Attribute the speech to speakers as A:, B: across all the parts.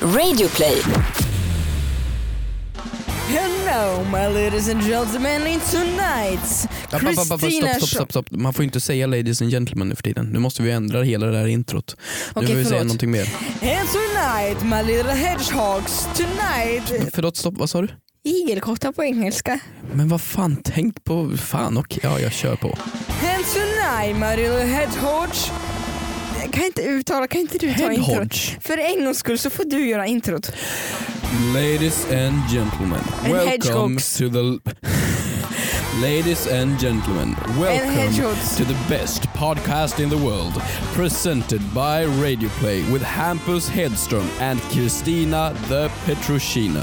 A: Radioplay.
B: Hello my ladies and gentlemen, it's tonight's
C: App, app, app, app,
B: Christina
C: stopp, stopp,
B: Show.
C: stopp, stopp. Man får ju inte säga ladies and gentlemen nu för tiden. Nu måste vi ändra hela det här introt. Nu
B: Okej,
C: får vi säga
B: förlåt.
C: någonting mer.
B: And tonight my little hedgehogs, tonight.
C: Förlåt, stopp, vad sa du?
B: Igelkottar på engelska.
C: Men vad fan, tänk på, fan och ja jag kör på.
B: And tonight my little hedgehogs. Jag kan inte uttala, kan inte du ta introt?
C: Hedgehog.
B: För en gångs skull så får du göra introt.
C: Ladies and gentlemen.
B: And
C: welcome
B: hedgehogs.
C: to the... Ladies and gentlemen, welcome
B: hedgehogs.
C: to the best podcast in the world. Presented by Radioplay with Hampus Hedström and Kristina the Petrushina.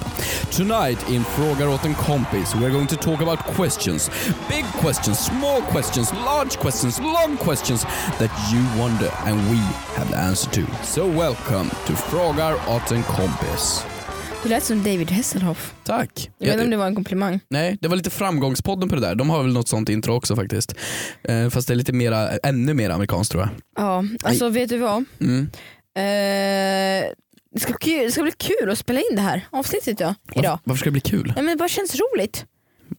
C: Tonight in Frågar åt en kompis we're going to talk about questions. Big questions, small questions, large questions, long questions that you wonder and we have the answer to. So welcome to Frågar åt en kompis.
B: Du lät som David Hasselhoff.
C: Tack.
B: Jag vet inte om det var en komplimang.
C: Nej, det var lite framgångspodden på det där. De har väl något sånt intro också faktiskt. Eh, fast det är lite mera, ännu mer amerikanskt tror jag.
B: Ja, alltså vet du vad?
C: Mm.
B: Eh, det, ska, bli kul- det ska bli kul att spela in det här avsnittet ja, idag.
C: Varför, varför ska det bli kul?
B: Nej, men det bara känns roligt.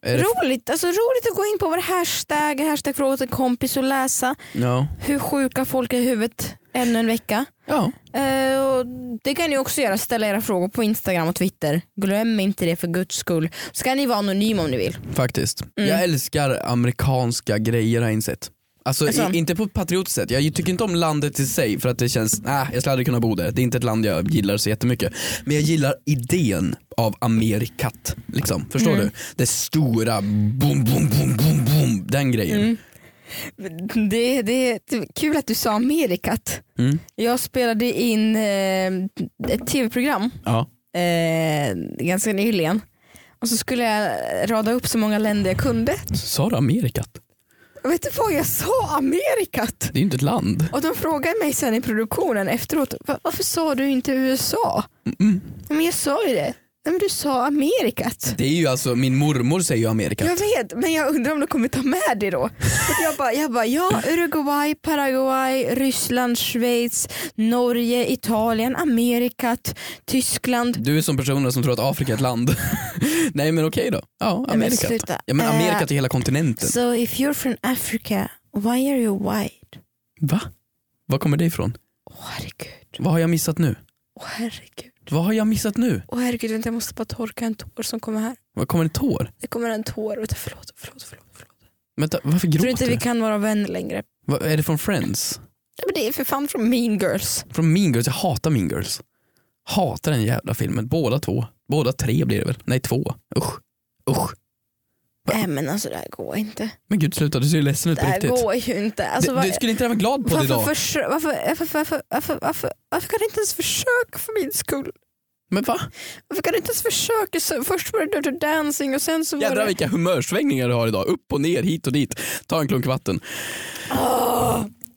C: Är det,
B: Roligt, alltså roligt att gå in på vår hashtag, hashtag fråga åt en kompis och läsa
C: ja.
B: hur sjuka folk är i huvudet ännu en vecka.
C: ja.
B: Eh, och det kan ni också göra, ställa era frågor på Instagram och Twitter. Glöm inte det för guds skull. Så kan ni vara anonyma om ni vill.
C: Faktiskt.
B: Mm.
C: Jag älskar amerikanska grejer har jag insett. Alltså,
B: Alltså.
C: I, inte på ett patriotiskt sätt, jag tycker inte om landet i sig för att det känns, nej jag skulle aldrig kunna bo där, det är inte ett land jag gillar så jättemycket. Men jag gillar idén av Amerikat, liksom. förstår
B: Mm.
C: du? Det stora, boom, boom, boom, boom, boom, den grejen.
B: Mm. Det, det, det är kul att du sa Amerikat.
C: Mm.
B: Jag spelade in eh, ett tv-program
C: Ja.
B: eh, ganska nyligen. Och så skulle jag rada upp så många länder jag kunde.
C: Sa du Amerikat?
B: Och vet du vad, jag sa Amerikat!
C: Det är ju inte ett land.
B: Och de frågade mig sen i produktionen efteråt, "Va- varför sa du inte USA?
C: Mm.
B: "Nej, Men jag sa ju det. Nej, men du sa Amerikat.
C: Det är ju alltså, min mormor säger ju Amerika.
B: Jag vet, men jag undrar om de kommer ta med det då. För Jag bara, jag bara, ja Uruguay, Paraguay, Ryssland, Schweiz, Norge, Italien, Amerikat, Tyskland.
C: Du är som personer som tror att Afrika är ett land. Nej men okej då. Ja,
B: men
C: Amerika.
B: sluta.
C: Ja, men
B: Eh,
C: Amerika är hela kontinenten.
B: So if you're from Africa, why are you white?
C: Va? Var kommer det ifrån?
B: Åh herregud,
C: Vad har jag missat nu?
B: åh herregud,
C: Vad har jag missat nu?
B: åh herregud, vänta jag måste bara torka en tår som kommer här.
C: Var kommer en tår?
B: Det kommer en tår, vänta förlåt, förlåt, förlåt. förlåt.
C: Vänta, varför
B: Jag tror
C: gråter
B: inte
C: du?
B: vi kan vara vänner längre.
C: Va, är det från Friends?
B: Ja, men det är för fan från Mean Girls.
C: Från Mean Girls? Jag hatar Mean Girls. Hatar den jävla filmen. Båda två. Båda tre blir det väl? Nej, två. Usch. Usch. Va?
B: Nej men alltså det här går inte.
C: Men gud sluta, du ser ju ledsen ut
B: Det
C: på
B: här
C: riktigt.
B: går ju inte. Alltså,
C: du,
B: vad-
C: du skulle inte vara glad på det
B: varför,
C: idag.
B: försö- varför, varför, varför, varför, varför, varför kan du inte ens försöka för min skull?
C: Men va?
B: Varför kan du inte ens försöka? Så, först var det Dirty Dancing och sen så var
C: Jädrar
B: det...
C: vilka humörsvängningar du har idag. Upp och ner, hit och dit. Ta en klunk vatten.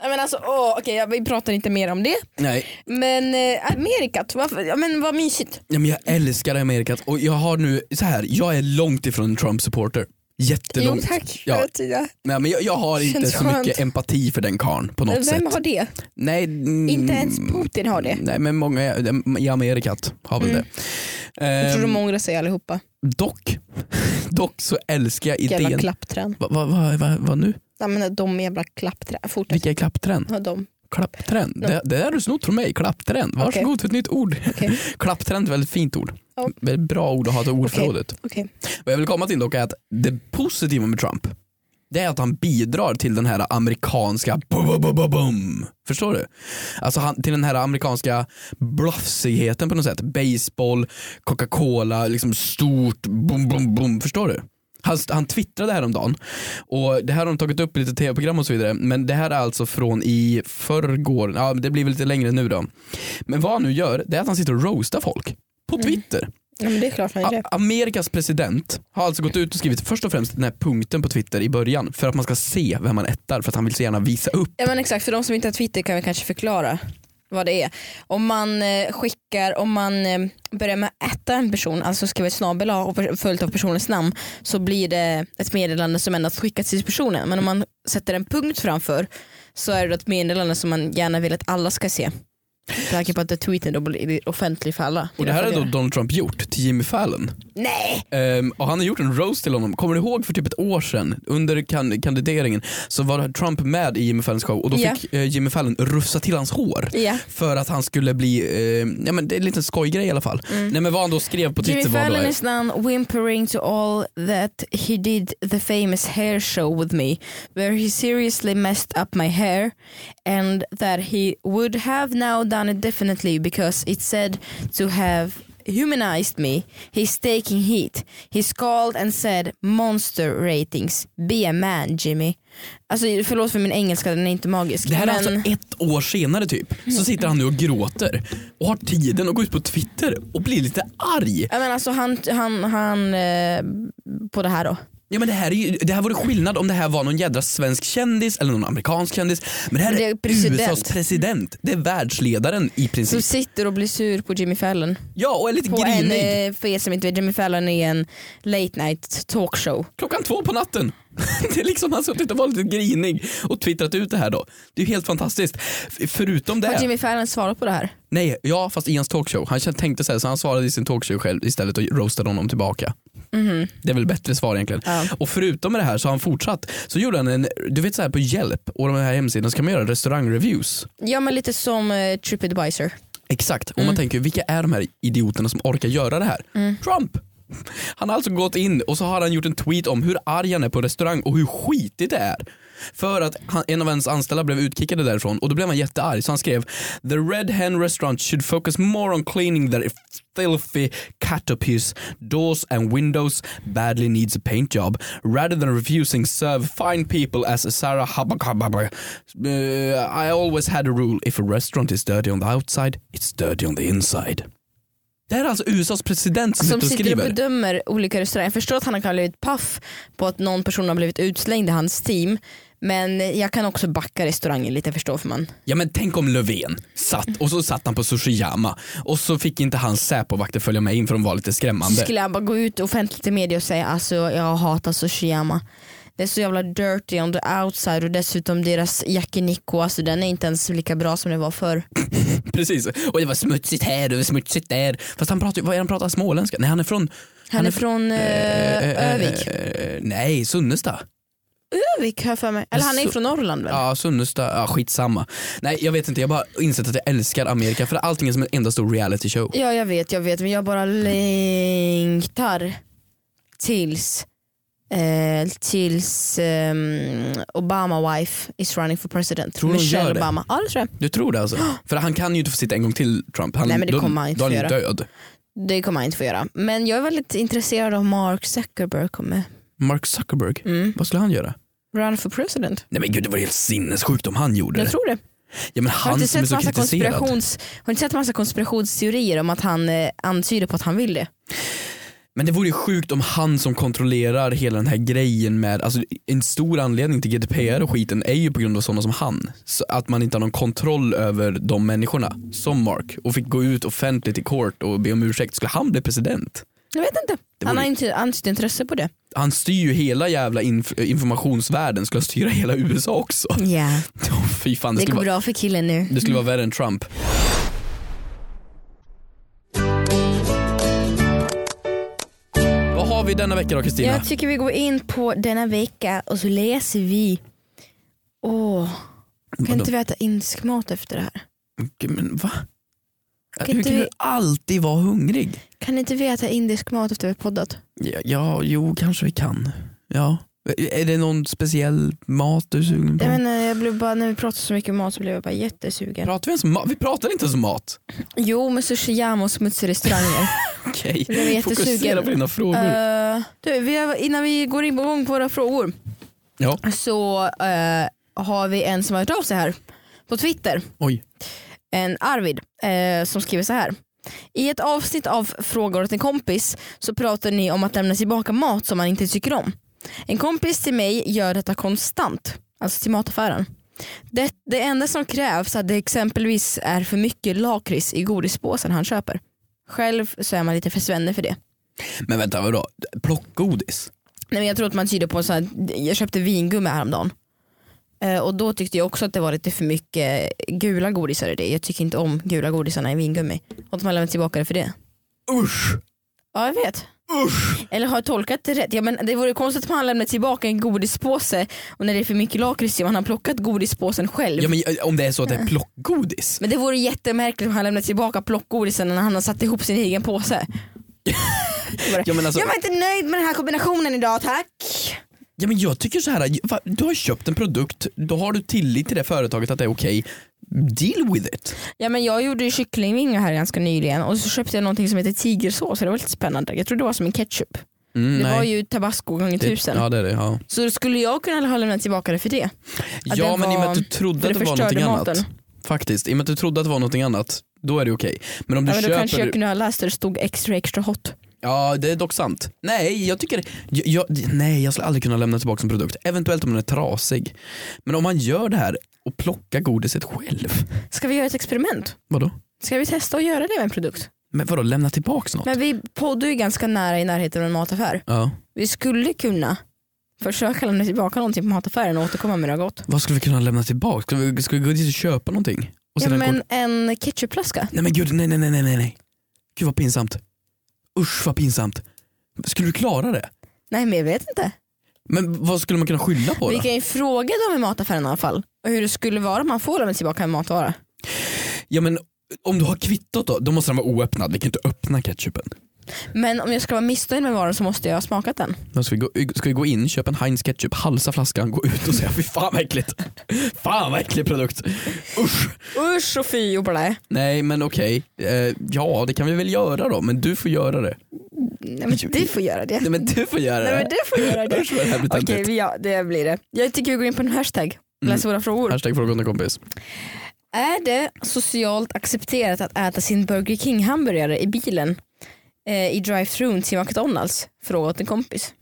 B: Nej, men alltså, åh, okej, jag- vi pratar inte mer om det.
C: Nej,
B: Men eh, Amerikat, varför, ja, men vad mysigt.
C: ja, men jag älskar Amerikat och jag har nu, så här, jag är långt ifrån en Trump-supporter. Jättelångt.
B: Jo tack för
C: Ja.
B: att jag...
C: Nej, men jag, jag har inte
B: Känns
C: så
B: skönt.
C: mycket empati för den karln på något
B: Vem
C: sätt.
B: har det?
C: Nej, mm,
B: Inte ens Putin har det.
C: Nej men många i Amerikat har väl det.
B: Jag tror
C: Ehm,
B: de ångrar sig allihopa.
C: dock, dock så älskar jag
B: Jävla
C: idén.
B: klappträn.
C: Vad va, va, va, va nu?
B: Nej, men de jävla klappträn. Fortsätt.
C: Vilka är klappträn?
B: Ja, de.
C: Klappträn? Det, det där har du snott från mig, klappträn. Varsågod för ett nytt ord.
B: Okej.
C: Klappträn är ett väldigt fint ord.
B: Ja.
C: Väldigt bra ord att ha till ordförrådet.
B: Okej.
C: Vad jag vill komma till dock är att det positiva med Trump det är att han bidrar till den här amerikanska bum, bum, bum, bum. Förstår du? Alltså han, till den här amerikanska blafsigheten på något sätt. Baseball, Coca-Cola, liksom stort, bum, bum, bum. Förstår du? Han, han twittrade häromdagen och det här har de tagit upp i lite tv-program och så vidare men det här är alltså från i förrgår, ja det blir väl lite längre nu då. Men vad han nu gör det är att han sitter och roastar folk på Twitter.
B: Ja, men det är klart han gör det.
C: A- Amerikas president har alltså gått ut och skrivit först och främst den här punkten på Twitter i början för att man ska se vem man ettar för att han vill så gärna visa upp.
B: Ja men exakt, för de som inte har Twitter kan vi kanske förklara vad det är. Om man eh, skickar, om man eh, börjar med att äta en person, alltså skriva ett snabel A och per- följt av personens namn så blir det ett meddelande som endast skickas till personen. Men om man sätter en punkt framför så är det ett meddelande som man gärna vill att alla ska se. Med tanke på att det tweeten då blir offentlig för alla.
C: Och det här har då Donald Trump gjort till Jimmy Fallon.
B: Nej!
C: Ehm, och han har gjort en roast till honom. Kommer du ihåg för typ ett år sedan under kan- kandideringen så var Trump med i Jimmy Fallons show och då
B: Ja.
C: fick eh, Jimmy Fallon rufsa till hans hår.
B: Ja.
C: För att han skulle bli, eh, ja men det är en liten skojgrej i alla fall. Nej men vad han då skrev på
B: Mm. Jimmy
C: Twitter var då
B: Fallon
C: eh,
B: is now whimpering to all that he did the famous hair show with me where he seriously messed up my hair and that he would have now done it differently because it said to have humanized me. He's taking heat. He's called and said monster ratings. Be a man Jimmy. Alltså förlåt för min engelska, den är inte magisk.
C: Det här
B: men...
C: är alltså ett år senare typ. Så sitter han nu och gråter och har tiden att gå ut på Twitter och blir lite arg.
B: Ja, men alltså han, han, han eh, på det här då.
C: Ja men det här, är ju, det här vore skillnad om det här var någon jädra svensk kändis eller någon amerikansk kändis. Men det här
B: Men det
C: är,
B: är president.
C: USAs president. Det är världsledaren i
B: Som
C: princip.
B: sitter och blir sur på Jimmy Fallon.
C: Ja och är lite
B: På en,
C: grinig.
B: eh, för er som inte vet, Jimmy Fallon är en late night talkshow.
C: Klockan två på natten. Det är liksom han har suttit och varit lite grinig och twittrat ut det här då. Det är ju helt fantastiskt. F- Förutom det.
B: Har Jimmy Fallon svarat på det här?
C: Nej, ja fast i hans talkshow. Han kände- tänkte så här så han svarade i sin talkshow själv istället och roastade honom tillbaka. Det är väl bättre svar egentligen.
B: Ja.
C: Och förutom med det här så har han fortsatt. Så gjorde han en, du vet så här på Hjälp och de här hemsidorna så kan man göra restaurangreviews.
B: Ja men lite som eh, Tripadvisor.
C: Exakt, och man tänker vilka är de här idioterna som orkar göra det här? Trump! Han har alltså gått in och så har han gjort en tweet om hur arg han är på restaurang och hur skitigt det är. För att han, en av ens anställda blev utkickade därifrån och då blev han jättearg så han skrev The Red Hen Restaurant should focus more on cleaning their filthy caterpillars doors and windows badly needs a paint job rather than refusing serve fine people as Sarah Habakababa. Uh, I always had a rule if a restaurant is dirty on the outside it's dirty on the inside. Det här är alltså USAs president som,
B: Som
C: sitter och
B: sitter och
C: skriver.
B: bedömer olika restauranger. Jag förstår att han kan ha blivit paff på att någon person har blivit utslängd i hans team. Men jag kan också backa restaurangen lite förstår för man.
C: Ja men tänk om Löfven satt och så satt han på Sushiyama och så fick inte hans Säpovakter följa med in för de var lite
B: Så
C: skrämmande.
B: skulle han bara gå ut offentligt i media och säga alltså jag hatar Sushiyama. Det är så jävla dirty on the outside och dessutom deras yakiniku, alltså den är inte ens lika bra som den var förr.
C: Precis. Och det var smutsigt här och det var smutsigt där. Fast han pratar ju, vad är han pratar småländska? Nej han är från
B: Han, är från eh, Övik.
C: eh, nej, Sunnesta.
B: Övik har jag för mig. Eller han är ju
C: Så-
B: från Norrland väl?
C: Alltså- Ja, Sunnesta, ja, skitsamma. Nej jag vet inte, jag har bara insett att jag älskar Amerika för allting är som en enda stor reality show.
B: Ja jag vet, jag vet men jag bara längtar tills eh, tills ehm, Obama wife is running for president.
C: Tror du hon
B: Michelle
C: gör det?
B: Obama. Ja det tror jag.
C: Du tror det alltså? För han kan ju inte få sitta en gång till Trump. Han,
B: Nej, men det
C: då,
B: kommer han inte
C: då är
B: få
C: han ju död.
B: Det kommer han inte få göra. Men jag är väldigt intresserad av Mark Zuckerberg kommer.
C: Mark Zuckerberg,
B: Mm.
C: vad skulle han göra?
B: Run for president.
C: Nej men gud det var helt sinnessjukt om han gjorde
B: Jag
C: det.
B: tror det.
C: Ja men
B: Har du
C: han
B: inte
C: som är
B: sett
C: så
B: massa,
C: kritiserad.
B: konspirations, har du inte sett massa konspirationsteorier om att han eh, antyder på att han vill det?
C: Men det vore ju sjukt om han som kontrollerar hela den här grejen med, alltså en stor anledning till GDPR och skiten är ju på grund av sådana som han. Så att man inte har någon kontroll över de människorna, som Mark, och fick gå ut offentligt i court och be om ursäkt. Skulle han bli president?
B: Jag vet inte.
C: Det
B: Han
C: vore-
B: har inte antytt intresse på det.
C: Han styr ju hela jävla inf- informationsvärlden, skulle han styra hela USA också?
B: Ja,
C: Åh, Fy fan, det
B: det
C: skulle,
B: går
C: vara,
B: bra för killen nu.
C: det skulle vara värre än Trump. Vad har vi denna vecka då Kristina?
B: Jag tycker vi går in på denna vecka och så läser vi. Åh, kan
C: Vadå?
B: inte vi äta indisk mat efter det här?
C: Gud, Men va?
B: Kan
C: Hur
B: inte
C: kan
B: vi-
C: du alltid vara hungrig?
B: Kan inte vi äta indisk mat efter vi har poddat?
C: Ja, ja, jo kanske vi kan. Ja. Är det någon speciell mat du är sugen på?
B: Jag menar, jag blev bara, när vi pratar så mycket mat så blev jag bara jättesugen.
C: Pratar vi ens om mat? Vi pratar inte ens om mat.
B: Jo, men sushiyama och smutsiga restauranger.
C: Okej,
B: Jag blev jättesugen.
C: fokusera på dina frågor.
B: Eh, du, vi har, innan vi går in på gång på våra frågor
C: Ja.
B: så eh, har vi en som har hört av sig här på Twitter.
C: Oj.
B: en Arvid eh, som skriver så här. I ett avsnitt av Frågor åt en kompis så pratar ni om att lämna tillbaka mat som man inte tycker om. En kompis till mig gör detta konstant, alltså till mataffären. Det, det enda som krävs är att det exempelvis är för mycket lakrits i godispåsen han köper. Själv så är man lite för svenne för det.
C: Men vänta vadå? Plockgodis?
B: Nej, men jag tror att man tyder på så här, jag köpte vingummi häromdagen. Eh, Och då tyckte jag också att det var lite för mycket gula godisar i det. Jag tycker inte om gula godisarna i vingummi. Och de har lämnat tillbaka det för det.
C: Usch!
B: Ja jag vet.
C: Usch!
B: Eller har jag tolkat det rätt? Ja, men det vore konstigt om han lämnade tillbaka en godispåse och när det är för mycket lakrits i och han har plockat godispåsen själv.
C: Ja, men, eh, om det är så att det är plockgodis.
B: Men det vore jättemärkligt om han lämnade tillbaka plockgodisen när han har satt ihop sin egen påse.
C: Ja, men alltså,
B: Jag var inte nöjd med den här kombinationen idag tack.
C: ja, men jag tycker så här. eh, va, du har köpt en produkt, då har du tillit till det företaget att det är okej. Deal with it.
B: Ja, men jag gjorde ju kycklingvingar här ganska nyligen och så köpte jag någonting som heter tigersås och det var lite spännande. Jag trodde det var som en ketchup.
C: Mm,
B: Det
C: nej.
B: var ju tabasco gånger
C: Det-
B: tusen.
C: Ja det är det. Ja,
B: Så skulle jag kunna ha lämnat tillbaka det för det? Att
C: ja
B: det
C: men i och med
B: var-
C: att du trodde
B: för
C: att
B: det
C: det var
B: förstörde
C: någonting
B: maten.
C: annat. Faktiskt, i och med att du trodde att det var någonting annat, då är det okej. Men om du
B: ja, men då kanske
C: köper...
B: jag kunde ha läst där det stod extra extra hot.
C: Ja det är dock sant. Nej jag tycker, jag, jag, nej jag skulle aldrig kunna lämna tillbaka en produkt. Eventuellt om den är trasig. Men om man gör det här och plockar godiset själv.
B: Ska vi göra ett experiment?
C: Vadå?
B: Ska vi testa att göra det med en produkt?
C: Men vadå lämna tillbaka något?
B: Men vi poddar ju ganska nära i närheten av en mataffär.
C: Ja.
B: Vi skulle kunna försöka lämna tillbaka någonting på mataffären och återkomma med något gott.
C: Vad skulle vi kunna lämna tillbaka? Ska vi, ska vi gå dit och köpa någonting? Och
B: Ja,
C: sedan
B: men
C: går...
B: en ketchupflaska.
C: Nej men gud, nej nej nej nej nej, nej. Gud vad pinsamt. Usch vad pinsamt. Skulle du klara det?
B: Nej men jag vet inte.
C: Men vad skulle man kunna skylla på då?
B: Vi kan ju fråga dem i mataffären i alla fall. Och hur det skulle vara om man får lämna tillbaka en matvara.
C: Ja men om du har kvittot då, då måste den vara oöppnad. Vi kan inte öppna ketchupen.
B: Men om jag ska vara missnöjd med varan så måste jag ha smakat den.
C: Då ska, vi gå, ska vi gå in, köpa en Heinz ketchup, halsa flaskan, gå ut och säga fy fan vad äckligt. Fan vad äcklig produkt. Usch.
B: Usch och fy och blä.
C: Nej men okej, eh, ja det kan vi väl göra då men du får göra det.
B: Nej men du får göra det.
C: Nej men du får göra
B: Nej men
C: det.
B: du får göra det.
C: Usch vad det här blir
B: Okej,
C: töntigt.
B: vi- ja, det blir det. Jag tycker vi går in på en hashtag. Läs våra frågor.
C: Hashtag frågorna kompis.
B: Är det socialt accepterat att äta sin Burger King hamburgare i bilen eh, i drive-thrun till McDonalds? Fråga åt en kompis.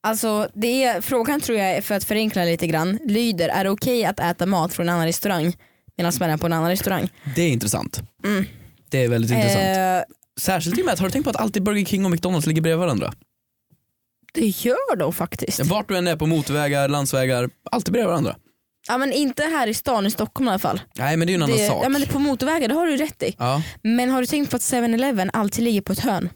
B: Alltså det är, frågan tror jag, för att förenkla lite grann, lyder är det okej att äta mat från en annan restaurang medan man är på en annan restaurang?
C: Det är intressant. Det är väldigt intressant.
B: Mm. Eh,
C: Särskilt i och med att, har du tänkt på att alltid Burger King och McDonalds ligger bredvid varandra?
B: det gör de faktiskt.
C: Vart du än är på motvägar, landsvägar, alltid bredvid varandra.
B: Ja men inte här i stan i Stockholm i alla fall.
C: Nej men det är ju en annan
B: det,
C: sak.
B: Ja, men det, på motorvägar, det har du rätt i.
C: Ja.
B: Men har du tänkt på att 7-Eleven alltid ligger på ett hörn?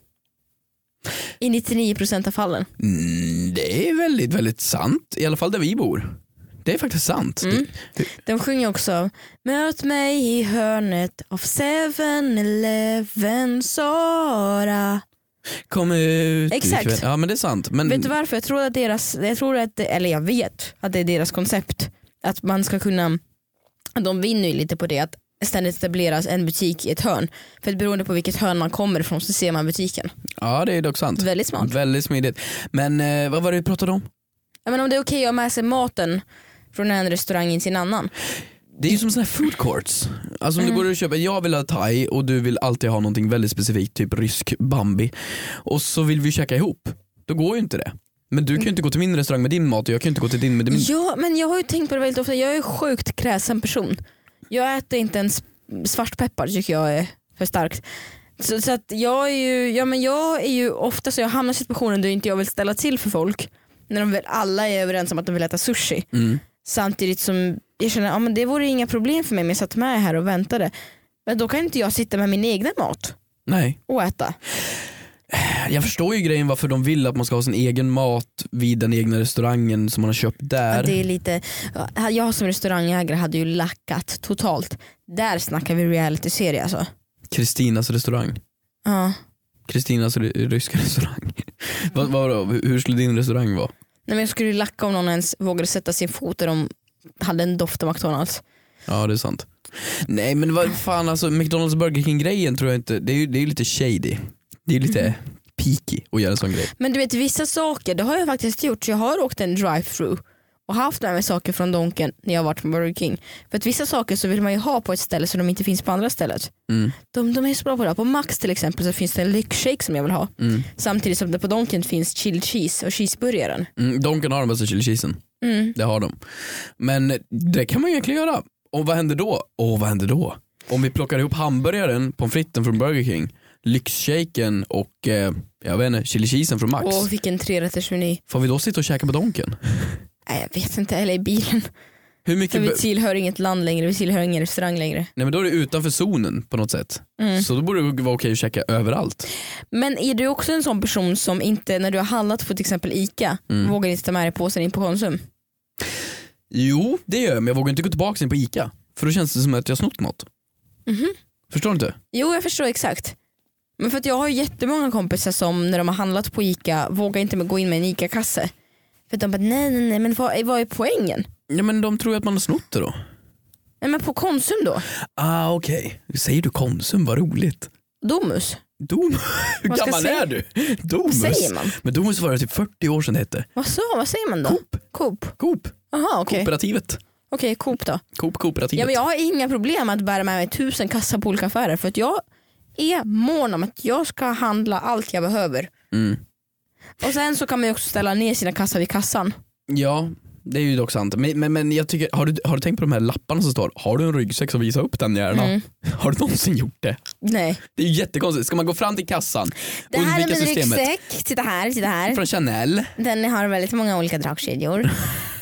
B: I 99% av fallen.
C: Mm, det är väldigt, väldigt sant. I alla fall där vi bor. Det är faktiskt sant.
B: Mm.
C: Det,
B: De sjunger också Möt mig i hörnet av 7-Eleven Sara.
C: kom ut
B: Exakt.
C: ikväll. Ja men det är sant. Men,
B: Vet du varför? Jag tror att deras, jag tror att, eller jag vet att det är deras koncept. Att man ska kunna, de vinner ju lite på det att ständigt etableras en butik i ett hörn. För att beroende på vilket hörn man kommer ifrån så ser man butiken.
C: ja det är dock sant.
B: Väldigt smart.
C: Väldigt smidigt. Men eh, vad var det vi pratade om?
B: Ja, men om det är okej att ha med sig maten från en restaurang in till en annan.
C: Det är ju som sådana här food courts. Alltså om
B: Mm.
C: du går och köper, jag vill ha thai och du vill alltid ha någonting väldigt specifikt, typ rysk bambi. Och så vill vi käka ihop. Då går ju inte det. Men du kan ju
B: Mm.
C: inte gå till min restaurang med din mat och jag kan ju inte gå till din med min.
B: Ja men jag har ju tänkt på det väldigt ofta, jag är en sjukt kräsen person. Jag äter inte ens svartpeppar tycker jag är för starkt. Så, så att jag är ju, ja men jag är ju ofta så jag hamnar i situationer där inte jag vill ställa till för folk. När de väl, alla är överens om att de vill äta sushi.
C: Mm.
B: Samtidigt som jag känner att ja, men det vore inga problem för mig om jag satt med här och väntade. Men då kan inte jag sitta med min egna mat
C: Nej.
B: och äta.
C: Jag förstår ju grejen varför de vill att man ska ha sin egen mat vid den egna restaurangen som man har köpt där.
B: Att Det är lite, jag som restaurangägare hade ju lackat totalt. Där snackar vi realityserie alltså.
C: Kristinas restaurang.
B: Ja.
C: Kristinas ry- ryska restaurang. vad, vad, då? hur skulle din restaurang vara?
B: Nej, men jag skulle ju lacka om någon ens vågade sätta sin fot där de hade en doft av McDonalds.
C: Ja det är sant. Nej men vad fan alltså McDonalds och Burger King grejen tror jag inte, det är ju det är ju lite shady. Det är ju lite peaky att göra en sån grej.
B: Men du vet vissa saker, det har jag faktiskt gjort. Jag har åkt en drive-through och haft med mig saker från Donken när jag har varit på Burger King. För att vissa saker så vill man ju ha på ett ställe så de inte finns på andra stället.
C: Mm,
B: De, de är så bra på det. På Max till exempel så finns det en lyxshake som jag vill ha.
C: mm,
B: Samtidigt som det på Donken finns chilled cheese och cheeseburgaren.
C: mm. De kan ha den bästa chili cheesen,
B: Mm.
C: det har de. Men det kan man ju egentligen göra. Och vad händer då? Och vad händer då? Om vi plockar ihop hamburgaren, pommes fritesen från Burger King, lyxshaken och eh, jag vet inte, chili cheesen från Max.
B: Åh vilken trerättersmeny.
C: Får vi då sitta och käka på Donken?
B: Nej, jag vet inte, eller i bilen.
C: Hur
B: För
C: mycket
B: vi
C: be-
B: tillhör inget land längre, vi tillhör ingen restaurang längre.
C: Nej men då är det utanför zonen på något sätt.
B: Mm.
C: Så då borde det vara okej att checka överallt.
B: Men är du också en sån person som inte, när du har handlat på till exempel ICA,
C: Mm.
B: vågar inte ta med dig påsen in på Konsum?
C: Jo, det gör jag men jag vågar inte gå tillbaka in på ICA. För då känns det som att jag har snott något.
B: Mhm.
C: Förstår du inte?
B: Jo jag förstår exakt. Men för att jag har jättemånga kompisar som när de har handlat på ICA vågar inte gå in med en ICA-kasse. För att de bara nej nej nej men vad, vad är poängen?
C: Ja men de tror ju att man har snott det då.
B: Nej men på Konsum då?
C: Ah okej. Säger du Konsum, vad roligt.
B: Domus?
C: Dom... Hur
B: Vad ska
C: gammal
B: jag
C: är du? Domus.
B: säger man?
C: Men Domus var det typ 40 år sedan det hette.
B: Vad, så, vad säger man då?
C: Coop.
B: Coop.
C: Coop.
B: Jaha okej.
C: Kooperativet.
B: Okej Coop då.
C: Coop kooperativet.
B: Ja, men jag har inga problem med att bära med mig tusen kassar på olika affärer för att jag är mån om att jag ska handla allt jag behöver.
C: Mm.
B: Och sen så kan man ju också ställa ner sina kassar vid kassan.
C: Ja, det är ju dock sant. Men, men, men jag tycker, har, du, har du tänkt på de här lapparna som står “Har du en ryggsäck så visa upp den gärna”?
B: Mm.
C: Har du någonsin gjort det?
B: Nej.
C: Det är ju jättekonstigt. Ska man gå fram till kassan,
B: Det här är
C: undvika
B: min
C: systemet
B: ryggsäck, titta här, titta här.
C: från Chanel?
B: Den har väldigt många olika dragkedjor.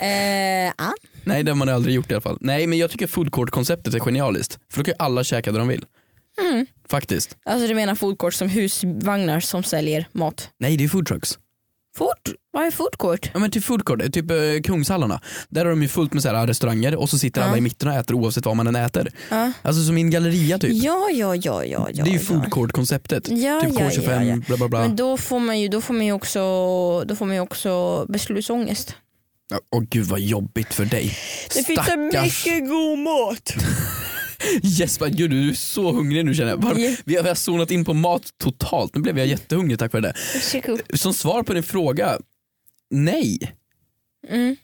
B: eh, ah.
C: Nej, det har man aldrig gjort i alla fall. Nej, men jag tycker food court-konceptet är genialiskt. För då kan ju alla käka det de vill.
B: Mm.
C: Faktiskt.
B: Alltså du menar food court som husvagnar som säljer mat?
C: Nej, det är food trucks.
B: Food? Vad är food court?
C: Ja men till food court, typ eh, Kungshallarna. Där har de ju fullt med så här eh, restauranger och så sitter
B: Ja.
C: alla i mitten och äter oavsett vad man än äter.
B: Ja.
C: Alltså som i en galleria typ.
B: Ja, ja, ja, ja, ja.
C: det är ju
B: ja.
C: food court-konceptet.
B: Ja,
C: typ
B: ja,
C: K25,
B: ja, ja.
C: bla bla bla.
B: Men då får man ju, då får man ju, också, då får man ju också beslutsångest.
C: Ja, Åh gud vad jobbigt för dig.
B: Det finns så
C: Stackars
B: mycket god mat.
C: Jesper, gud du är så hungrig nu känner jag. Var,
B: Ja.
C: vi, har, vi har zonat in på mat totalt, nu blev jag jättehungrig tack vare det.
B: Varsågod.
C: Som svar på din fråga, nej,
B: Mm.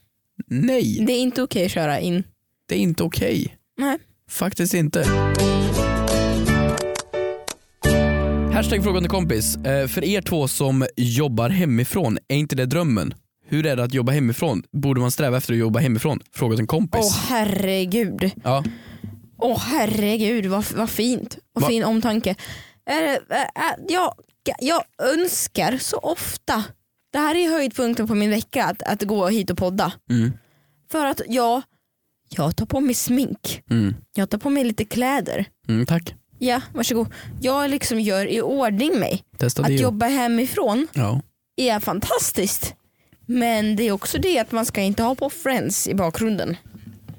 C: nej,
B: Det är inte okej att köra in.
C: det är inte okej.
B: Nej.
C: Faktiskt inte. Hashtag frågan till kompis. Eh, För er två som jobbar hemifrån, är inte det drömmen? Hur är det att jobba hemifrån? Borde man sträva efter att jobba hemifrån? Fråga till en kompis.
B: Åh herregud.
C: Ja.
B: Åh herregud vad, vad fint. Vad
C: Va-
B: fin omtanke. Är det- ä- ä- jag, jag önskar så ofta, det här är höjdpunkten på min vecka, att, att gå hit och podda.
C: Mm.
B: För att jag, jag tar på mig smink,
C: Mm.
B: jag tar på mig lite kläder.
C: Mm, tack.
B: Ja, varsågod. Jag liksom gör i ordning mig.
C: Testa det.
B: Att jobba hemifrån
C: Ja.
B: är fantastiskt. Men det är också det att man ska inte ha på friends i bakgrunden.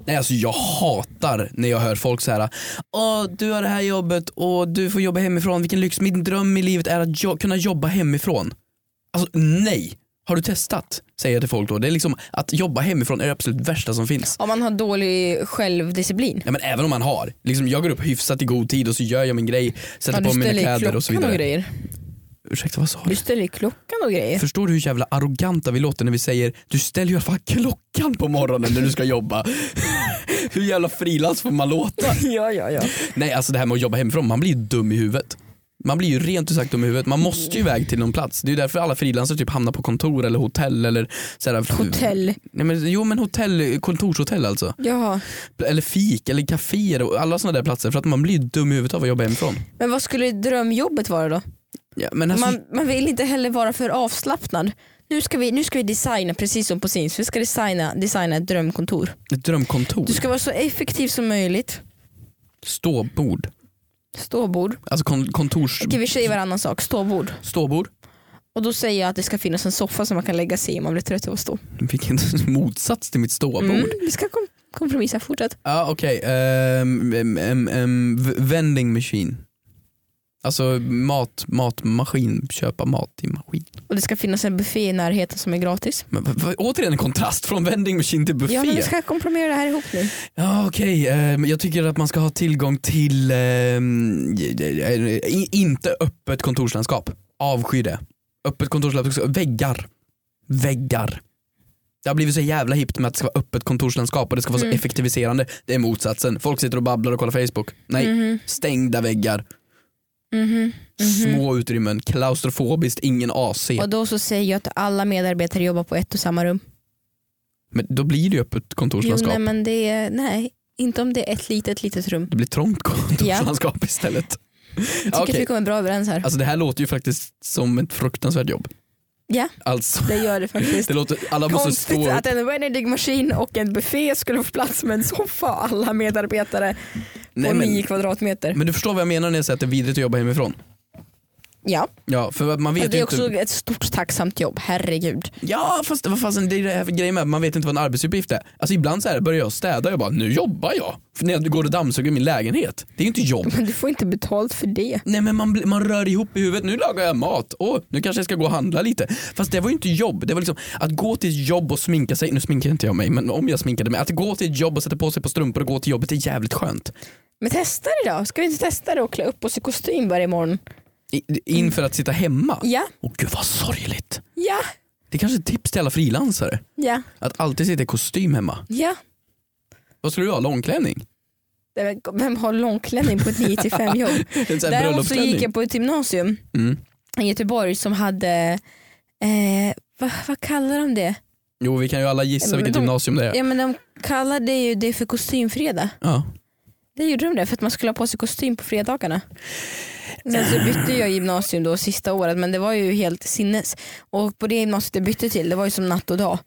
C: Nej, alltså jag hatar när jag hör folk så här. Åh, du har det här jobbet och du får jobba hemifrån. Vilken lyx. Min dröm i livet är att jo- kunna jobba hemifrån. Alltså nej. Har du testat? Säger jag till folk då. Det är liksom att jobba hemifrån är det absolut värsta som finns.
B: Om man har dålig självdisciplin.
C: Ja, men även om man har. Liksom, jag går upp hyfsat i god tid och så gör jag min grej, sätter
B: Ja,
C: på mina kläder och så vidare.
B: grejer.
C: Ursäkta vad sa
B: Du
C: du?
B: ställer ju klockan och grejer.
C: Förstår du hur jävla arroganta vi låter när vi säger du ställer ju i alla fall klockan på morgonen när du ska jobba. hur jävla frilans får man låta?
B: ja, ja, ja.
C: Nej alltså det här med att jobba hemifrån, man blir ju dum i huvudet. Man blir ju rent ut sagt dum i huvudet. Man måste ju iväg till någon plats. Det är ju därför alla frilansare typ hamnar på kontor eller hotell eller sådär.
B: Hotell.
C: Nej, men, jo men hotell, kontorshotell alltså.
B: Jaha.
C: Eller fik eller kaféer och alla sådana där platser för att man blir ju dum i huvudet av att jobba hemifrån.
B: Men vad skulle drömjobbet vara då?
C: Ja, men alltså,
B: Man, man vill inte heller vara för avslappnad. Nu ska vi, nu ska vi designa, precis som på Sims, vi ska designa, designa ett drömkontor.
C: ett drömkontor,
B: Du ska vara så effektiv som möjligt.
C: ståbord,
B: Ståbord.
C: alltså kon- kontors...
B: Okej vi säger varannan sak, ståbord.
C: Ståbord?
B: Och då säger jag att det ska finnas en soffa som man kan lägga sig i om man blir trött av att stå.
C: Vilken motsats till mitt ståbord.
B: Mm, vi ska kom- kompromissa, fortsätt.
C: Ja okej, Ehm, em, em, em, v- vending machine. Alltså mat, matmaskin, köpa mat i maskin.
B: Och det ska finnas en buffé i närheten som är gratis.
C: Men, v- v- återigen en kontrast från vending machine till buffé.
B: Ja men vi ska kompromissa det här ihop nu.
C: Ja okej, eh, men jag tycker att man ska ha tillgång till ehm, j- j- j- i- inte öppet kontorslandskap. Avsky det. Öppet kontorslandskap, väggar. Väggar. Det har blivit så jävla hippt med att det ska vara öppet kontorslandskap och det ska vara
B: Mm.
C: så effektiviserande. Det är motsatsen. Folk sitter och babblar och kollar Facebook. Nej,
B: Mhm,
C: stängda väggar,
B: mhm, mhm.
C: små utrymmen, klaustrofobiskt, ingen AC.
B: Och då så säger jag att alla medarbetare jobbar på ett och samma rum.
C: Men då blir det ju öppet
B: Jo
C: kontorslandskap.
B: nej men det är, nej. Inte om det är ett litet litet rum.
C: Det blir trångt kontorslandskap istället.
B: Jag tycker
C: Ah, Okej.
B: att vi kommer bra överens här.
C: Alltså det här låter ju faktiskt som ett fruktansvärt jobb.
B: Ja,
C: Alltså,
B: det gör det faktiskt.
C: det låter, alla måste
B: Konstigt
C: stå
B: att en Wennerdig-maskin och en buffé skulle få plats med en soffa och alla medarbetare
C: Nej,
B: på
C: men-
B: nio kvadratmeter.
C: Men du förstår vad jag menar när jag säger att det är vidrigt att jobba hemifrån?
B: ja,
C: Ja, för man
B: men
C: vet
B: Alltså, det
C: ju
B: är också
C: inte.
B: ett stort tacksamt jobb, herregud.
C: Ja, fast vad fasen, det är det här för grejen med man vet inte vad en arbetsuppgift är. Alltså ibland så här börjar jag städa jag bara, nu jobbar jag. För när jag går och dammsuger min lägenhet. Det är ju inte jobb.
B: Men du får inte betalt för det.
C: Nej men man, bli- man rör ihop i huvudet, nu lagar jag mat, åh, nu kanske jag ska gå och handla lite. Fast det var ju inte jobb, det var liksom att gå till ett jobb och sminka sig, nu sminkar inte jag mig men om jag sminkade mig, att gå till ett jobb och sätta på sig på strumpor och gå till jobbet är jävligt skönt.
B: Men testa det då. Ska vi inte testa det och klä upp oss i kostym varje morgon?
C: I, inför att sitta hemma.
B: Ja,
C: Åh gud vad sorgligt.
B: ja,
C: Det är kanske är ett tips till alla frilansare.
B: ja,
C: Att alltid sitta i kostym hemma.
B: ja.
C: Vad skulle du ha? Långklänning?
B: Det är väl- Vem har långklänning på ett 9 till 5 jobb?
C: En sån här
B: Däremot så
C: bröllopsklänning?
B: gick jag på ett gymnasium
C: Mm.
B: i Göteborg som hade, eh, vad, vad kallar de det?
C: Jo vi kan ju alla
B: Ja,
C: gissa
B: men
C: vilket
B: de-
C: gymnasium det är.
B: Ja men de kallade ju det för kostymfredag.
C: Ja.
B: Det gjorde de det för att man skulle ha på sig kostym på fredagarna. Sen så bytte jag gymnasium då sista året men det var ju helt sinnes. Och på det gymnasiet jag bytte till, det var ju som natt och dag.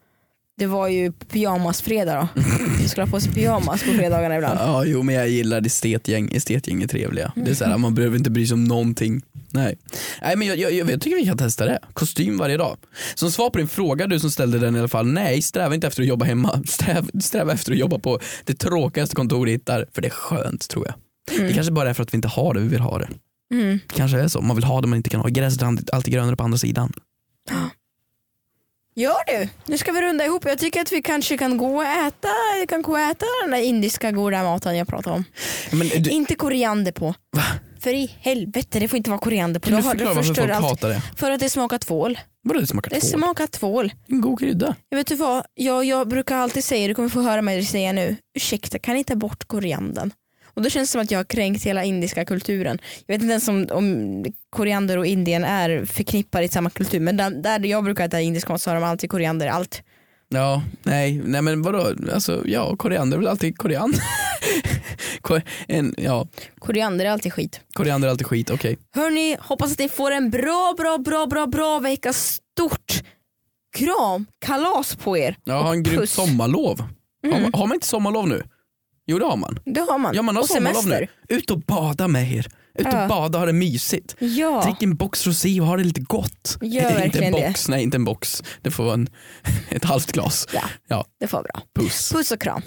B: Det var ju pyjamasfredag då. Jag skulle ha på sig pyjamas på fredagarna ibland.
C: Ja, jo men jag gillar estetgäng, estetgäng är trevliga. Det är så här, man behöver inte bry sig om någonting. Nej, nej men jag, jag, jag tycker vi kan testa det. Kostym varje dag. Som svar på din fråga du som ställde den i alla fall, nej sträva inte efter att jobba hemma. Sträva, sträva efter att jobba på det tråkigaste kontor du hittar, för det är skönt tror jag. Det kanske bara är för att vi inte har det vi vill ha det.
B: Mm.
C: Kanske är det så, man vill ha det man inte kan ha. Gräset är alltid grönare på andra sidan.
B: Gör du? Nu ska vi runda ihop. Jag tycker att vi kanske kan gå och äta, vi kan gå och äta den där indiska goda maten jag pratade om.
C: Men du,
B: Inte koriander på. För i helvete, det får inte vara koriander på.
C: kan du
B: Då har- då
C: förklara varför
B: förstör
C: folk
B: allt.
C: hatar det?
B: För att det smakar tvål.
C: Vadå det smakar
B: Det
C: tvål?
B: smakar tvål.
C: En god krydda.
B: Jag vet du vad, jag, jag brukar alltid säga, du kommer få höra mig säga nu, ursäkta kan ni ta bort koriandern? Och då känns det som att jag har kränkt hela indiska kulturen. Jag vet inte ens om, om koriander och Indien är förknippade i samma kultur men där, där jag brukar äta indisk mat så har de alltid koriander i allt.
C: Ja, nej, nej men vadå, alltså ja, koriander är väl alltid koriander. Ko- en, ja,
B: Koriander är alltid skit.
C: koriander är alltid skit, okej.
B: Hörni, hoppas att ni får en bra, bra, bra, bra, bra vecka. Stort kram, kalas på er.
C: Ja, ha en grymt
B: Puss.
C: sommarlov. Har, man, har man inte sommarlov nu? Jo det har man.
B: Det har man.
C: Ja man har
B: Och
C: sommarlov
B: semester.
C: nu. Ut och bada med er. Ut och
B: Ja.
C: bada, ha det mysigt.
B: Ja.
C: Drick en box rosé och ha det lite gott.
B: Gör
C: inte
B: verkligen
C: en box, nej inte en box. Det får vara en, ett halvt glas.
B: ja,
C: Ja,
B: det får vara bra.
C: puss.
B: Puss och kram.